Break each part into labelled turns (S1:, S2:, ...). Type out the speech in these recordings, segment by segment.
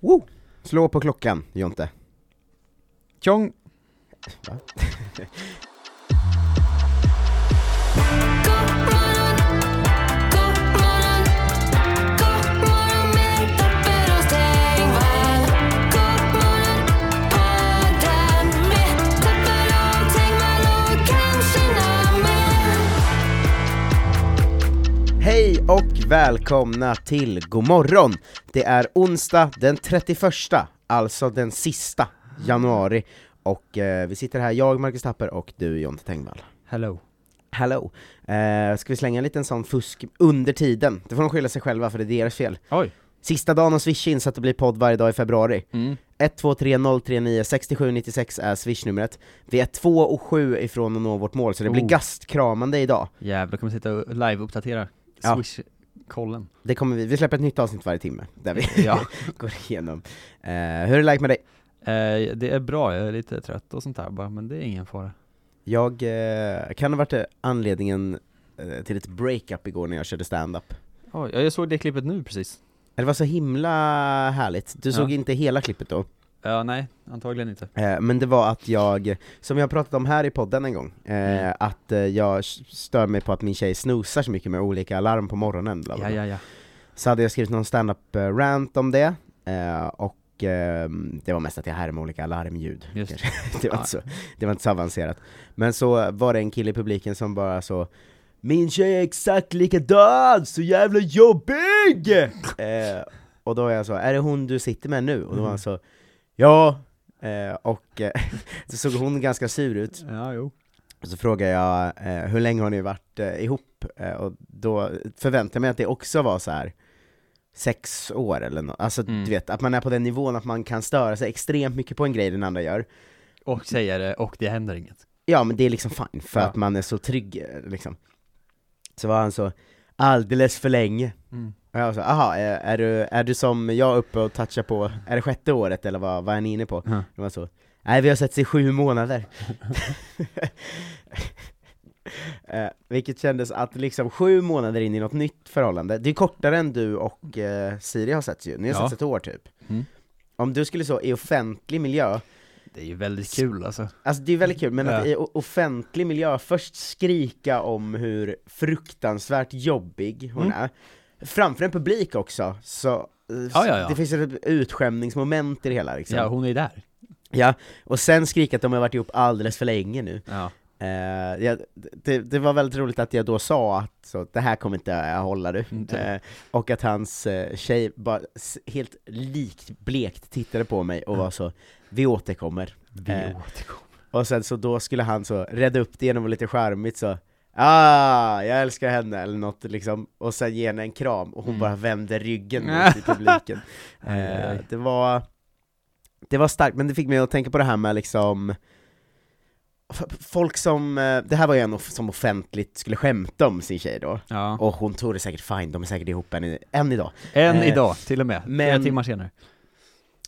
S1: Woo! Slå på klockan, Jonte.
S2: Tjong!
S1: Hej och välkomna till Godmorgon! Det är onsdag den 31, alltså den sista januari, och eh, vi sitter här, jag, Marcus Tapper, och du, Jonte Tengvall.
S2: Hello.
S1: Hello! Eh, ska vi slänga en liten sån fusk under tiden? Det får de skylla sig själva för det är deras fel.
S2: Oj.
S1: Sista dagen att swisha in så att det blir podd varje dag i februari.
S2: Mm.
S1: 123039 6796 är swishnumret. Vi är 2 och 7 ifrån att nå vårt mål, så det blir
S2: Oh.
S1: gastkramande idag.
S2: Jävlar, kommer sitta och live-uppdatera
S1: Ja.
S2: Swish-kollen.
S1: Det kommer vi, vi släpper ett nytt avsnitt varje timme, där vi
S2: Ja.
S1: går igenom. Eh, hur är det läget med dig?
S2: Eh, det är bra, jag är lite trött och sånt där bara, men det är ingen fara.
S1: Jag eh, kan ha varit eh, anledningen eh, till ett breakup igår när jag körde stand-up.
S2: Oj, jag såg det klippet nu precis.
S1: Det var så himla härligt, du
S2: Ja.
S1: såg inte hela klippet då,
S2: Ja, nej, antagligen inte.
S1: eh, men det var att jag, som jag har pratat om här i podden en gång, eh,
S2: Mm.
S1: att eh, jag s- stör mig på att min tjej snoozar så mycket med olika alarm på morgonen. Bla bla
S2: Ja,
S1: bla.
S2: ja, ja.
S1: Så hade jag skrivit någon stand-up eh, rant om det, eh, och ehm, det var mest att jag härmade olika alarmljud.
S2: Just
S1: kanske. det, var
S2: Ja.
S1: inte så, det var inte så avancerat. Men så var det en kille i publiken som bara så Min tjej är exakt likadan, så jävla jobbig! eh, och då var jag så, är det hon du sitter med nu? Och då var
S2: Mm.
S1: han så, ja! Eh, och eh, så såg hon ganska sur ut,
S2: Ja, jo.
S1: och så frågade jag eh, hur länge har ni varit eh, ihop? Eh, och då förväntade jag mig att det också var så här sex år eller något. Alltså
S2: Mm.
S1: du vet, att man är på den nivån att man kan störa sig extremt mycket på en grej den andra gör.
S2: Och säger det, och det händer inget.
S1: Ja men det är liksom fine, för
S2: Ja.
S1: att man är så trygg eh, liksom. Så var han så, alldeles för länge.
S2: Mm.
S1: Och jag sa, aha, eh, är du, är du som jag uppe och touchar på, är det sjätte året eller vad, vad är ni inne på?
S2: Ja.
S1: De var så, nej vi har setts i sju månader. eh, vilket kändes att liksom sju månader in i något nytt förhållande, det är kortare än du och eh, Siri har setts ju, ni har
S2: Ja.
S1: setts ett år typ.
S2: Mm.
S1: Om du skulle så i offentlig miljö,
S2: Det är ju väldigt kul alltså.
S1: alltså det är väldigt kul, men att
S2: Ja.
S1: i o- offentlig miljö först skrika om hur fruktansvärt jobbig
S2: Mm.
S1: hon är, framför en publik också, så eh,
S2: Ja, ja, ja.
S1: det finns ett utskämningsmoment i det hela liksom.
S2: Ja, hon är ju där.
S1: Ja, och sen skrika att de har varit ihop alldeles för länge nu.
S2: Ja.
S1: Eh, jag, det, det var väldigt roligt att jag då sa att så, det här kommer inte jag hålla du.
S2: Inte.
S1: Eh, och att hans eh, tjej bara s- helt likt blekt tittade på mig och var så, vi återkommer.
S2: Vi
S1: Eh.
S2: återkommer.
S1: Och sen så då skulle han så rädda upp det genom att lite charmigt så, ah, jag älskar henne eller något liksom. Och sen ge henne en kram och hon
S2: Mm.
S1: bara vände ryggen mot i publiken.
S2: Aj, aj,
S1: Eh,
S2: aj.
S1: det var Det var starkt, men det fick mig att tänka på det här med liksom f- Folk som, eh, det här var ju en off- som offentligt skulle skämta om sin tjej då,
S2: Ja.
S1: och hon tog det säkert fine, de är säkert ihop än, i- än idag
S2: Än
S1: Eh,
S2: idag, till och med.
S1: men-
S2: Flera timmar senare.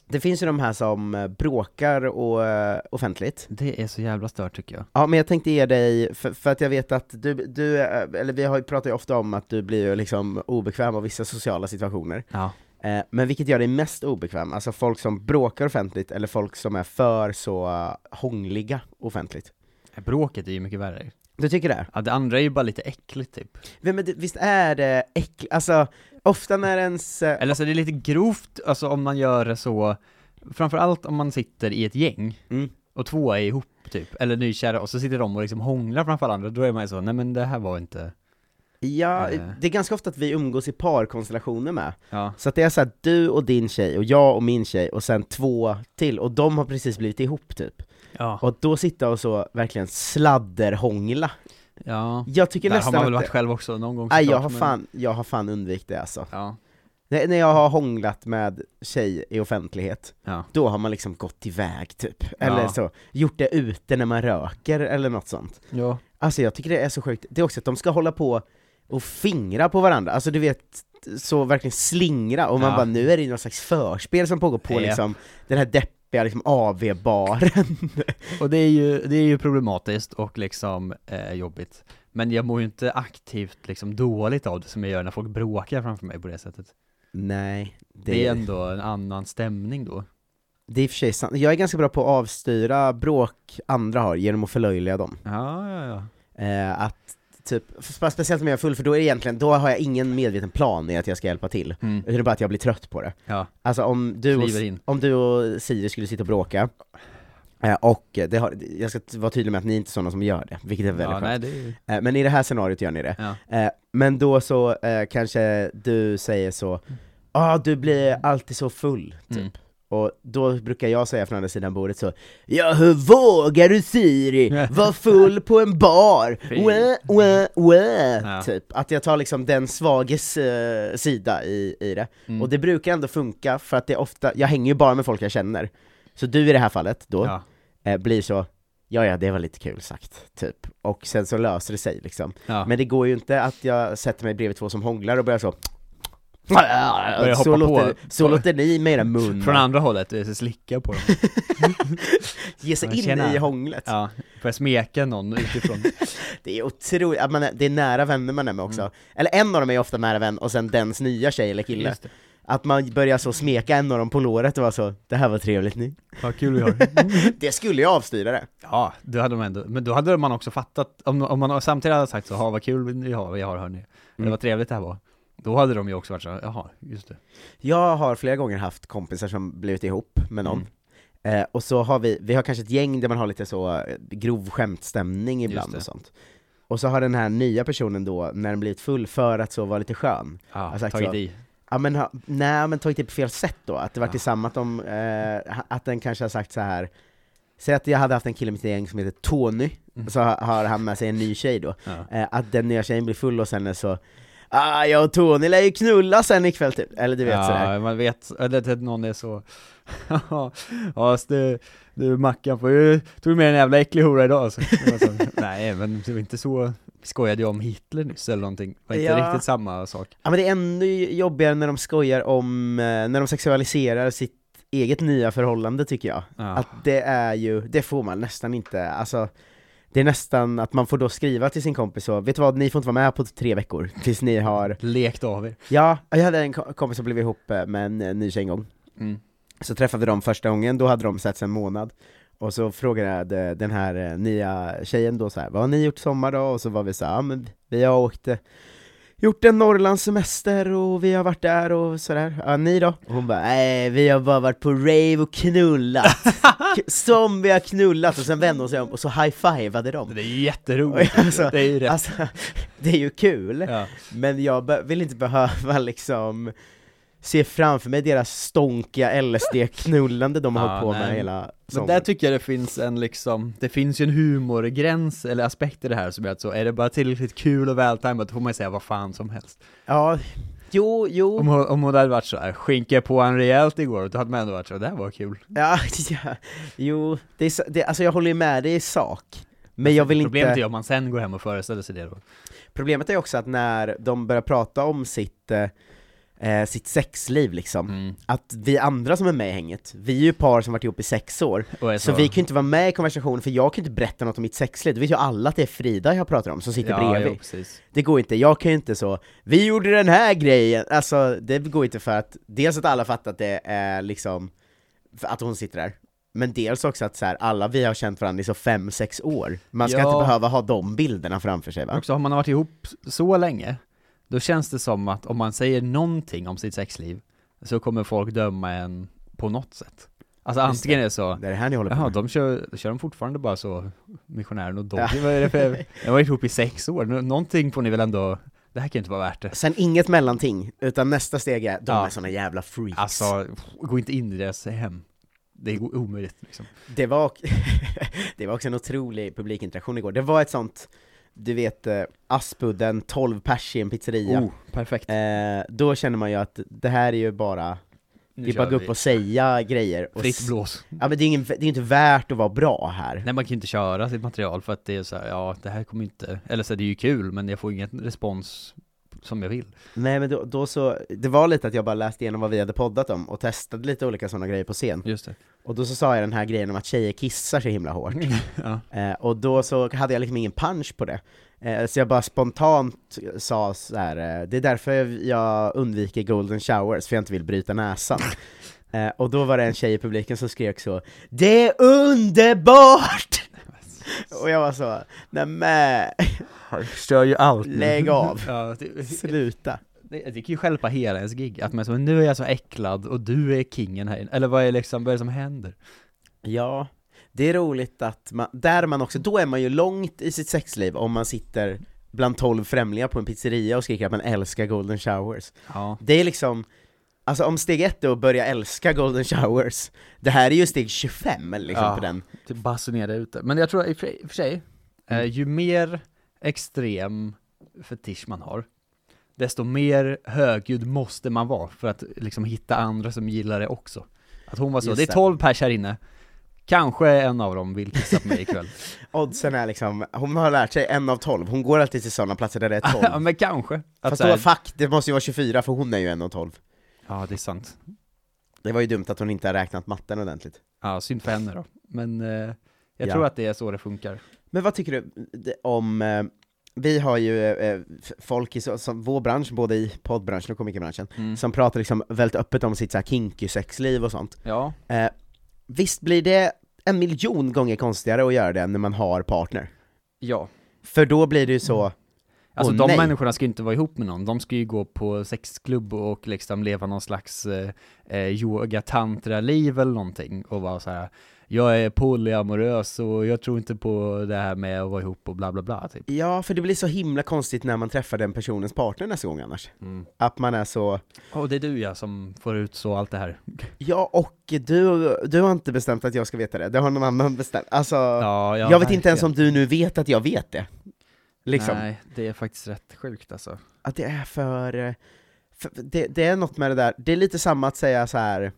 S1: Det finns ju de här som eh, bråkar och, eh, offentligt
S2: Det är så jävla stört tycker jag.
S1: Ja men jag tänkte ge dig, för, för att jag vet att du, du eh, eller vi har ju pratat ju ofta om att du blir ju liksom obekväm av vissa sociala situationer
S2: Ja.
S1: Eh, Men vilket gör dig mest obekväm? Alltså folk som bråkar offentligt, eller folk som är för så eh, hångliga offentligt?
S2: Bråket är ju mycket värre.
S1: Du tycker det?
S2: Ja, det andra är ju bara lite äckligt typ.
S1: Men, men det- visst är det äckligt? Alltså, ofta när ens... eh,
S2: Eller så är det lite grovt, alltså om man gör det så, framförallt om man sitter i ett gäng,
S1: Mm.
S2: och två är ihop typ, eller nykära, och så sitter de och liksom hånglar framför varandra, då är man ju så, nej men det här var inte,
S1: Ja,
S2: Eh.
S1: det är ganska ofta att vi umgås i parkonstellationer med.
S2: ja.
S1: Så att det är så här, du och din tjej, och jag och min tjej, och sen två till, och de har precis blivit ihop typ.
S2: Ja.
S1: Och att då sitta och så verkligen sladderhångla.
S2: ja.
S1: Jag tycker
S2: Där har
S1: nästan
S2: man väl
S1: att...
S2: varit själv också någon gång
S1: Nej,
S2: såklart,
S1: jag har
S2: men-
S1: fan, jag har fan undvikit det alltså.
S2: Ja,
S1: Nej, när jag har hånglat med tjej i offentlighet,
S2: ja.
S1: då har man liksom gått iväg typ, eller
S2: Ja.
S1: så, gjort det ute när man röker eller något sånt.
S2: Ja.
S1: Alltså jag tycker det är så sjukt, det är också att de ska hålla på och fingra på varandra, alltså du vet, så verkligen slingra, och man
S2: Ja.
S1: bara nu är det ju någon slags förspel som pågår på
S2: Ja.
S1: liksom den här deppiga liksom AV-baren.
S2: Och det är ju, det är ju problematiskt och liksom eh, jobbigt. Men jag mår ju inte aktivt liksom dåligt av det som jag gör när folk bråkar framför mig på det sättet.
S1: Nej, det,
S2: Det är ändå en annan stämning då.
S1: det är i och för sig sant. Jag är ganska bra på att avstyra bråk andra har genom att förlöjliga dem.
S2: Ja, ja, ja.
S1: Eh, att typ, spe- speciellt om jag är full, för då är det egentligen, då har jag ingen medveten plan i att jag ska hjälpa till.
S2: Mm.
S1: Utan det är bara att jag blir trött på det.
S2: Ja,
S1: Alltså om du och,
S2: kliver in.
S1: om du och Siri skulle sitta och bråka, eh, och det har, jag ska t- vara tydlig med att ni är inte sådana som gör det, vilket är väldigt
S2: Ja, nej,
S1: skönt.
S2: det är ju...
S1: Eh, Men i det här scenariot gör ni det.
S2: Ja.
S1: Eh, Men då så eh, kanske du säger så, ah du blir alltid så full, typ.
S2: Mm.
S1: Och då brukar jag säga från andra sidan bordet så Ja hur vågar du Siri vara full på en bar?
S2: Fy.
S1: Wä, wä, wä.
S2: Ja.
S1: Typ, att jag tar liksom den svages eh, sida i, i det.
S2: Mm.
S1: Och det brukar ändå funka för att det är ofta, jag hänger ju bara med folk jag känner. Så du i det här fallet då,
S2: Ja.
S1: eh, blir så Ja ja, det var lite kul sagt, typ. Och sen så löser det sig liksom.
S2: Ja.
S1: Men det går ju inte att jag sätter mig bredvid två som hånglar och börjar så
S2: hoppa
S1: så,
S2: på-
S1: låter, så
S2: på-
S1: låter ni med era mun
S2: Från andra hållet, eh, slicka på dem.
S1: ge sig in
S2: Tjena.
S1: i hånglet.
S2: Ja, börja smeka någon utifrån.
S1: Det är otroligt, att man är, det är nära vänner man är med också.
S2: Mm.
S1: Eller en av dem är ofta nära vän, och sen dens nya tjej eller kille.
S2: Just det.
S1: Att man börjar så smeka en av dem på låret och vara så, det här var trevligt ni.
S2: Vad kul vi har.
S1: Det skulle jag avstyra det.
S2: Ja, då hade man ändå, men då hade man också fattat, om, om man samtidigt hade sagt så, ha vad kul vi har, vi har hörni,
S1: Mm.
S2: eller vad trevligt det här var. Då hade de ju också varit så, här, jaha, just det.
S1: Jag har flera gånger haft kompisar som blivit ihop med någon.
S2: Mm.
S1: Eh, och så har vi, vi har kanske ett gäng där man har lite så eh, grov skämtstämning ibland
S2: det.
S1: och sånt. Och så har den här nya personen då, när den blivit full, för att så vara lite skön,
S2: Ja,
S1: sagt
S2: tagit
S1: så.
S2: i.
S1: Ja men, ha, nej men tagit det på fel sätt då, att det var tillsammans att de, eh, ha- att den kanske har sagt så här Säg att jag hade haft en kille i mitt gäng som heter Tony,
S2: Mm.
S1: så ha- har han med sig en ny tjej då,
S2: Ja.
S1: eh, att den nya tjejen blir full och sen är så Ah, jag och Tony lär ju knulla sen ikväll typ, eller du vet sådär
S2: ja, man vet, eller att någon är så, ja, så du, du Mackan, får ju, tog du med en jävla äcklig hora idag alltså. Det var så, Nej, men det var inte så, vi skojade ju om Hitler nyss eller någonting, det var inte
S1: Ja.
S2: riktigt samma sak.
S1: Ja men det är ännu jobbigare när de skojar om, eh, när de sexualiserar sitt eget nya förhållande tycker jag.
S2: Ja.
S1: Att det är ju, det får man nästan inte, alltså det är nästan att man får då skriva till sin kompis så, vet du vad, ni får inte vara med på tre veckor tills ni har,
S2: Lekt av er.
S1: ja, jag hade en ko- kompis som blev ihop eh, med en eh, ny tjej en gång,
S2: Mm.
S1: så träffade vi dem första gången, då hade de setts en månad, och så frågade den här eh, nya tjejen då så här, vad har ni gjort i sommar då? Och så var vi så här, ja, men vi har åkt eh, Gjort en Norrlandssemester och vi har varit där och sådär, ja ni då? Och hon bara nej vi har bara varit på rave och knullat, K- som vi har knullat! Och sen vände hon sig om och så high-fivade de
S2: Det är ju jätteroligt,
S1: Alltså,
S2: det är ju rätt.
S1: Alltså, det är ju kul!
S2: ja.
S1: Men jag be- vill inte behöva liksom se framför mig deras stonkiga LSD-knullande de har
S2: Ja,
S1: hållit på med
S2: Ah, nej.
S1: hela
S2: Men
S1: sommaren.
S2: där tycker jag det finns en liksom, det finns ju en humorgräns eller aspekt i det här som är att så, är det bara tillräckligt kul och vältajmat då får man ju säga vad fan som helst.
S1: Ja, jo, jo,
S2: Om hon, om hon hade varit så här, skinka på en rejält igår, då hade man ändå varit så här, det här var kul.
S1: ja, ja, jo, det är, sa- det, alltså jag håller ju med dig i sak. Men jag vill
S2: Alltså, Problemet
S1: inte...
S2: är ju om man sen går hem och föreställer sig det då.
S1: Problemet är också att när de börjar prata om sitt, eh, eh, sitt sexliv liksom,
S2: Mm.
S1: att vi andra som är med i hänget, vi är ju par som varit ihop i sex år,
S2: Och är
S1: så vi kan ju inte vara med i konversationen för jag kan ju inte berätta något om mitt sexliv, då vet ju alla att det är Frida jag pratar om som sitter
S2: ja,
S1: bredvid.
S2: Jo, precis.
S1: Det går inte, jag kan ju inte så, vi gjorde den här grejen, alltså det går inte för att, dels att alla fattar att det är liksom, för att hon sitter där, men dels också att så här, alla vi har känt varandra i så fem, sex år, man ska
S2: Ja.
S1: inte behöva ha de bilderna framför sig va?
S2: Också, har man varit ihop så länge, då känns det som att om man säger någonting om sitt sexliv, så kommer folk döma en på något sätt. Alltså antingen är det så,
S1: Det är det här ni håller på
S2: Jaha,
S1: med.
S2: de kör, kör de fortfarande bara så, missionären och Doggy,
S1: Ja.
S2: vad är det för, de har varit ihop i sex år, Nå- någonting får ni väl ändå, det här kan ju inte vara värt det.
S1: Sen inget mellanting, utan nästa steg är, de
S2: Ja.
S1: är såna jävla freaks.
S2: Alltså, gå inte in i deras hem. Det är o- omöjligt liksom.
S1: Det var, det var också en otrolig publikinteraktion igår, det var ett sånt, du vet, eh, Aspudden, 12 pers i en pizzeria.
S2: Oh, perfekt.
S1: Eh, då känner man ju att det här är ju bara,
S2: Nu
S1: det är bara
S2: kör
S1: att gå
S2: vi.
S1: upp och säga grejer. Och s-
S2: Fritt blås.
S1: Ja men det är, ingen, det är inte värt att vara bra här.
S2: Nej man kan ju inte köra sitt material för att det är så här, ja det här kommer inte, eller så här, det är ju kul men jag får ingen respons som jag vill.
S1: Nej men då, då så, det var lite att jag bara läste igenom vad vi hade poddat om och testade lite olika sådana grejer på scen.
S2: Just det.
S1: Och då så sa jag den här grejen om att tjejer kissar så himla hårt.
S2: ja.
S1: Eh, och då så hade jag liksom ingen punch på det. Eh, Så jag bara spontant sa så här. eh, det är därför jag undviker golden showers, för jag inte vill bryta näsan. Eh, Och då var det en tjej i publiken som skrek så Det är underbart! Och jag var så, nämen,
S3: Jag förstör ju allt nu.
S1: lägg av,
S2: Ja, det,
S1: sluta!
S2: det, det kan ju stjälpa hela ens gig, att man så, nu är jag så äcklad och du är kingen här inne." Eller vad är liksom, vad är det som händer?
S1: Ja, det är roligt att man, där man också, då är man ju långt i sitt sexliv om man sitter bland 12 främlingar på en pizzeria och skriker att man älskar golden showers.
S2: Ja.
S1: Det är liksom, alltså om steg ett är att börja älska golden showers, det här är ju steg 25 liksom
S3: Ja.
S1: på den.
S3: Typ basunera ut det. Men jag tror i och för i och för sig,
S1: Mm.
S2: Eh, ju mer extrem fetisch man har, desto mer högljudd måste man vara för att liksom hitta andra som gillar det också. Att hon var så,
S1: Just
S2: det är
S1: det.
S2: 12 pers här inne, kanske en av dem vill kissa på mig ikväll.
S1: Oddsen är liksom, hon har lärt sig en av 12, hon går alltid till sådana platser där det är 12.
S2: ja men kanske. Att
S1: Fast
S2: så här-
S1: då, fuck, det måste ju vara 24 för hon är ju en av 12.
S2: ja det är sant.
S1: Det var ju dumt att hon inte har räknat matten ordentligt.
S2: Ja, synd för henne då. Men eh, jag
S1: Ja.
S2: tror att det är så det funkar.
S1: Men vad tycker du d- om, eh, vi har ju eh, f- folk i så, som vår bransch, både i poddbranschen och komikerbranschen,
S2: Mm.
S1: som pratar liksom väldigt öppet om sitt så här kinky sexliv och sånt.
S2: Ja.
S1: Eh, visst blir det en miljon gånger konstigare att göra det än när man har partner?
S2: Ja.
S1: För då blir det ju så,
S2: Alltså
S1: Åh,
S2: de
S1: nej.
S2: människorna ska ju inte vara ihop med någon, de ska ju gå på sexklubb och liksom leva någon slags eh, eh, yoga-tantra-liv eller någonting och vara så här. jag är polyamorös och jag tror inte på det här med att vara ihop och bla bla bla typ.
S1: ja för det blir så himla konstigt när man träffar den personens partner nästa gång annars.
S2: Mm.
S1: Att man är så,
S2: Och det är du ja som får ut så allt det här.
S1: ja och du, du har inte bestämt att jag ska veta det, det har någon annan bestämt. Alltså,
S2: Ja,
S1: jag vet inte ens om du nu vet att jag vet det. Liksom.
S2: Nej, det är faktiskt rätt sjukt alltså.
S1: att det är för... eh, för det, det är något med det där, det är lite samma att säga så här.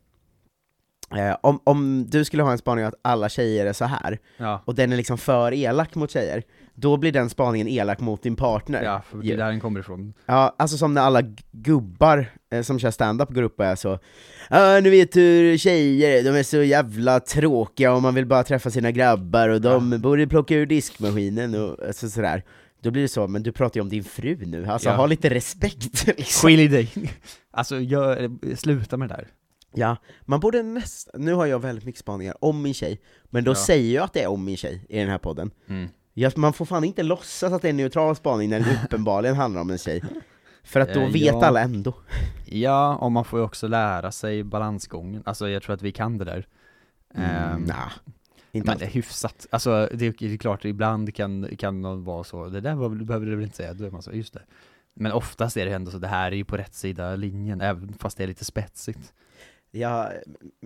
S1: Eh, om, om du skulle ha en spaning att alla tjejer är så här
S2: Ja,
S1: och den är liksom för elak mot tjejer, då blir den spaningen elak mot din partner.
S2: ja för det är där den kommer ifrån.
S1: Ja, alltså som när alla g- gubbar eh, som kör stand-up går upp och är så Ja, nu vet du hur tjejer är, de är så jävla tråkiga och man vill bara träffa sina grabbar och de borde plocka ur diskmaskinen och alltså, sådär Då blir det så, men du pratar ju om din fru nu, alltså
S2: Ja.
S1: ha lite respekt liksom.
S2: Skilj dig! Alltså, gör, sluta med det där.
S1: Ja, man borde nästan, nu har jag väldigt mycket spaningar om min tjej, men då
S2: Ja.
S1: säger jag att det är om min tjej i den här podden
S2: Mm.
S1: Ja, man får fan inte låtsas att det är en neutral spaning när det uppenbarligen handlar om en tjej För att då
S2: Eh,
S1: vet
S2: ja.
S1: alla ändå
S2: Ja, och man får ju också lära sig balansgången. Alltså jag tror att vi kan det där. Ehm,
S1: Mm, nah, inte
S2: men
S1: alls.
S2: det är hyfsat. Alltså det är, det är klart, ibland kan, kan någon vara så, det där var, väl- behöver du väl inte säga, då är man så, just det. Men oftast är det ändå så, det här är ju på rätt sida linjen, även fast det är lite spetsigt.
S1: Jag,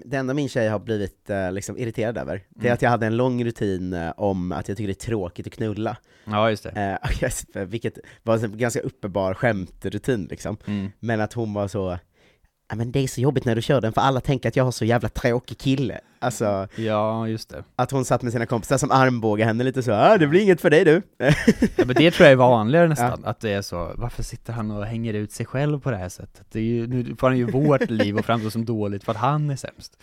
S1: det enda min tjej har blivit eh, liksom irriterad över, det
S2: Mm.
S1: är att jag hade en lång rutin eh, om att jag tycker det är tråkigt att knulla.
S2: Ja, just det.
S1: Eh, jag- vilket var en ganska uppenbar skämtrutin liksom.
S2: Mm.
S1: Men att hon var så, "Ja, men det är så jobbigt när du kör den för alla tänker att jag har så jävla tråkig kille. Alltså,
S2: Ja, just det.
S1: att hon satt med sina kompisar som armbågade henne lite så, ah, det blir inget för dig du.
S2: Ja, men det tror jag är vanligare nästan, att det är så, varför sitter han och hänger ut sig själv på det här sättet? Det är ju, nu får han ju vårt liv och framstå som dåligt för att han är sämst.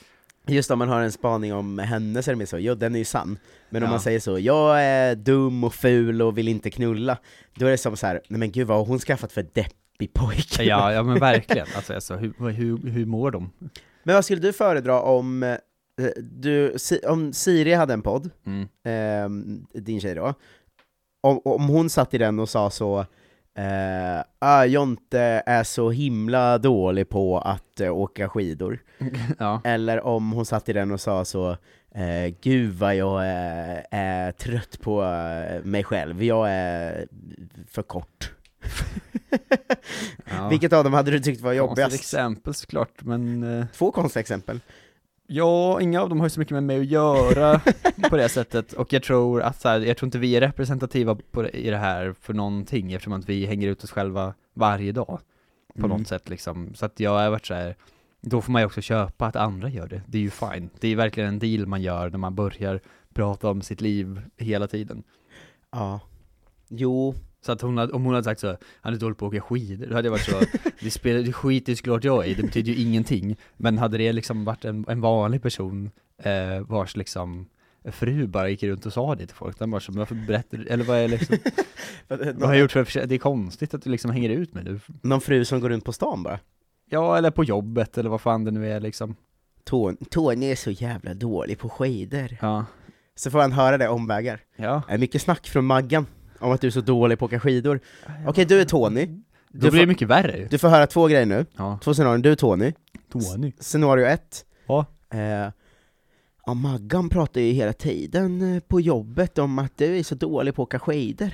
S1: Just om man har en spaning om henne så är det mer så, jo den är ju sann. Men om
S2: Ja.
S1: man säger så, jag är dum och ful och vill inte knulla, då är det som så här, nej men gud vad har hon skaffat för deppig pojke?
S2: Ja, ja men verkligen. Alltså, alltså hur, hur, hur mår de?
S1: Men vad skulle du föredra om, eh, du, Si- om Siri hade en podd,
S2: Mm.
S1: ehm, din tjej då, om, om hon satt i den och sa så eh, ah, Jonte är så himla dålig på att eh, åka skidor.
S2: Ja.
S1: Eller om hon satt i den och sa så eh, Gud vad jag eh, är trött på eh, mig själv, jag är för kort.
S2: ja.
S1: Vilket av dem hade du tyckt var
S2: Konstigt
S1: jobbigast?
S2: exempel såklart, men eh,
S1: Två konstiga exempel.
S2: ja, inga av dem har ju så mycket med mig att göra på det sättet, och jag tror att så här, jag tror inte vi är representativa på det, i det här för någonting, eftersom att vi hänger ut oss själva varje dag, på
S1: Mm.
S2: något sätt liksom, så att jag har varit så här. Då får man ju också köpa att andra gör det, det är ju fine. Det är verkligen en deal man gör när man börjar prata om sitt liv hela tiden.
S1: Ja. Jo,
S2: Så att hon hade, om hon hade sagt så här, han är dålig på att åka skidor, då hade jag varit så, det spelar, det skiter ju såklart jag i, det betyder ju ingenting. Men hade det liksom varit en, en vanlig person eh, vars liksom fru bara gick runt och sa det till folk. Den bara så, "Men varför berättar du, eller vad är liksom, vad har
S1: Någon,
S2: jag gjort för att försä- det är konstigt att du liksom hänger ut med nu.
S1: någon fru som går runt på stan bara.
S2: Ja, eller på jobbet eller vad fan det nu är liksom.
S1: Tony, Tony är så jävla dålig på skidor.
S2: Ja.
S1: Så får han höra det omvägar.
S2: Ja.
S1: Det är mycket snack från Maggan om att du är så dålig på att åka skidor. Okej, du är Tony.
S2: Då
S1: Du
S2: blir
S1: får-
S2: det mycket värre ju.
S1: Du får höra två grejer nu.
S2: Ja.
S1: Två scenarion. Du är Tony.
S2: Tony.
S1: Scenario ett.
S2: Ja.
S1: Eh, ja, Maggan pratar ju hela tiden eh, på jobbet om att du är så dålig på att åka skidor.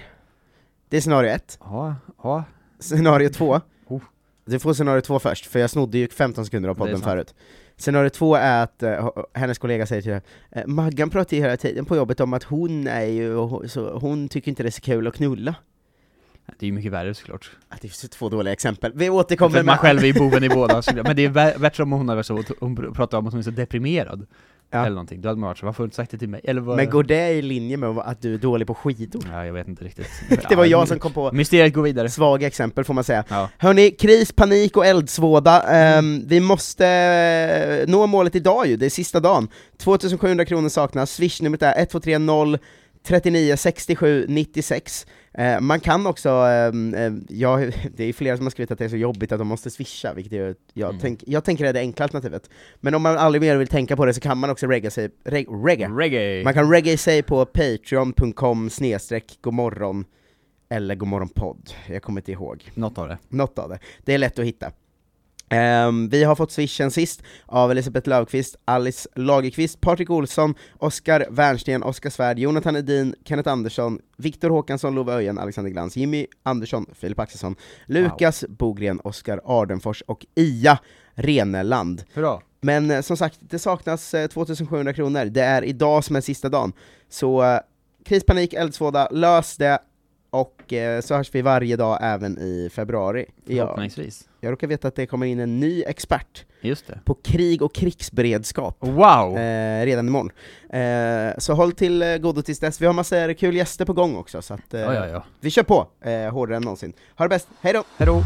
S1: Det är scenario ett.
S2: Ja, ja.
S1: Scenario två.
S2: Oh.
S1: Du får scenario två först, för jag snodde ju 15 sekunder av
S2: Det är
S1: podden
S2: sant.
S1: förut. Scenario två är att eh, h- hennes kollega säger till henne, eh, Maggan pratar ju hela tiden på jobbet om att hon är ju, och ho- så, hon tycker inte det är så kul att knulla.
S2: Det är ju mycket värre såklart.
S1: Att det finns ju två dåliga exempel. Vi
S2: För
S1: återkommer
S2: att man
S1: med...
S2: själv är ju boven i båda. så- Men det är vär- värre om hon hade varit så, hon pr- pratade om att hon är så deprimerad.
S1: Ja.
S2: Eller någonting. Då hade man varit så, varför har du inte sagt det till mig? Eller vad...
S1: Men går det i linje med att du är dålig på skidor?
S2: Ja, jag vet inte riktigt.
S1: Det var
S2: Ja,
S1: jag som kom på
S2: Mysteriet går vidare.
S1: svaga exempel får man säga.
S2: Ja.
S1: Hörni, kris, panik och eldsvåda. Ehm, vi måste eh, nå målet idag ju, det är sista dagen. 2700 kronor saknas, swishnumret är 1230 39 67 96. Eh, man kan också, ehm, eh, ja, det är flera som har skrivit att det är så jobbigt att de måste swisha, vilket gör att jag,
S2: Mm.
S1: tänk, jag tänker är det enkla alternativet. Men om man aldrig mer vill tänka på det så kan man också regga sig, reg, regga.
S2: Reggae!
S1: Man kan regga sig på patreon.com snedstreck godmorgon eller godmorgonpodd, jag kommer inte ihåg
S2: Något av det.
S1: något av det. Det är lätt att hitta. Ehm, vi har fått swishen sist av Elisabeth Löfqvist, Alice Lagerqvist, Patrik Olsson, Oskar Wernsten, Oskar Svärd, Jonathan Edin, Kenneth Andersson, Viktor Håkansson, Love Öjen, Alexander Glans, Jimmy Andersson, Filip Axelsson, Lukas Bogren, Oskar Ardenfors och Ia Reneland.
S2: Hurra!
S1: Men eh, som sagt, det saknas eh, 2700 kronor. Det är idag som är sista dagen. Så eh, kris, panik, eldsvåda, lös det. Och eh, så hörs vi varje dag även i februari. Jag,
S2: Förhoppningsvis.
S1: jag råkar veta att det kommer in en ny expert
S2: Just det.
S1: på krig och krigsberedskap.
S2: Wow!
S1: Eh, redan imorgon. Eh, så håll till eh, godo tills dess, vi har massor kul gäster på gång också så att eh,
S2: ja, ja, ja.
S1: vi kör på eh, hårdare än någonsin. Ha det bäst, hej då!
S2: Hejdå!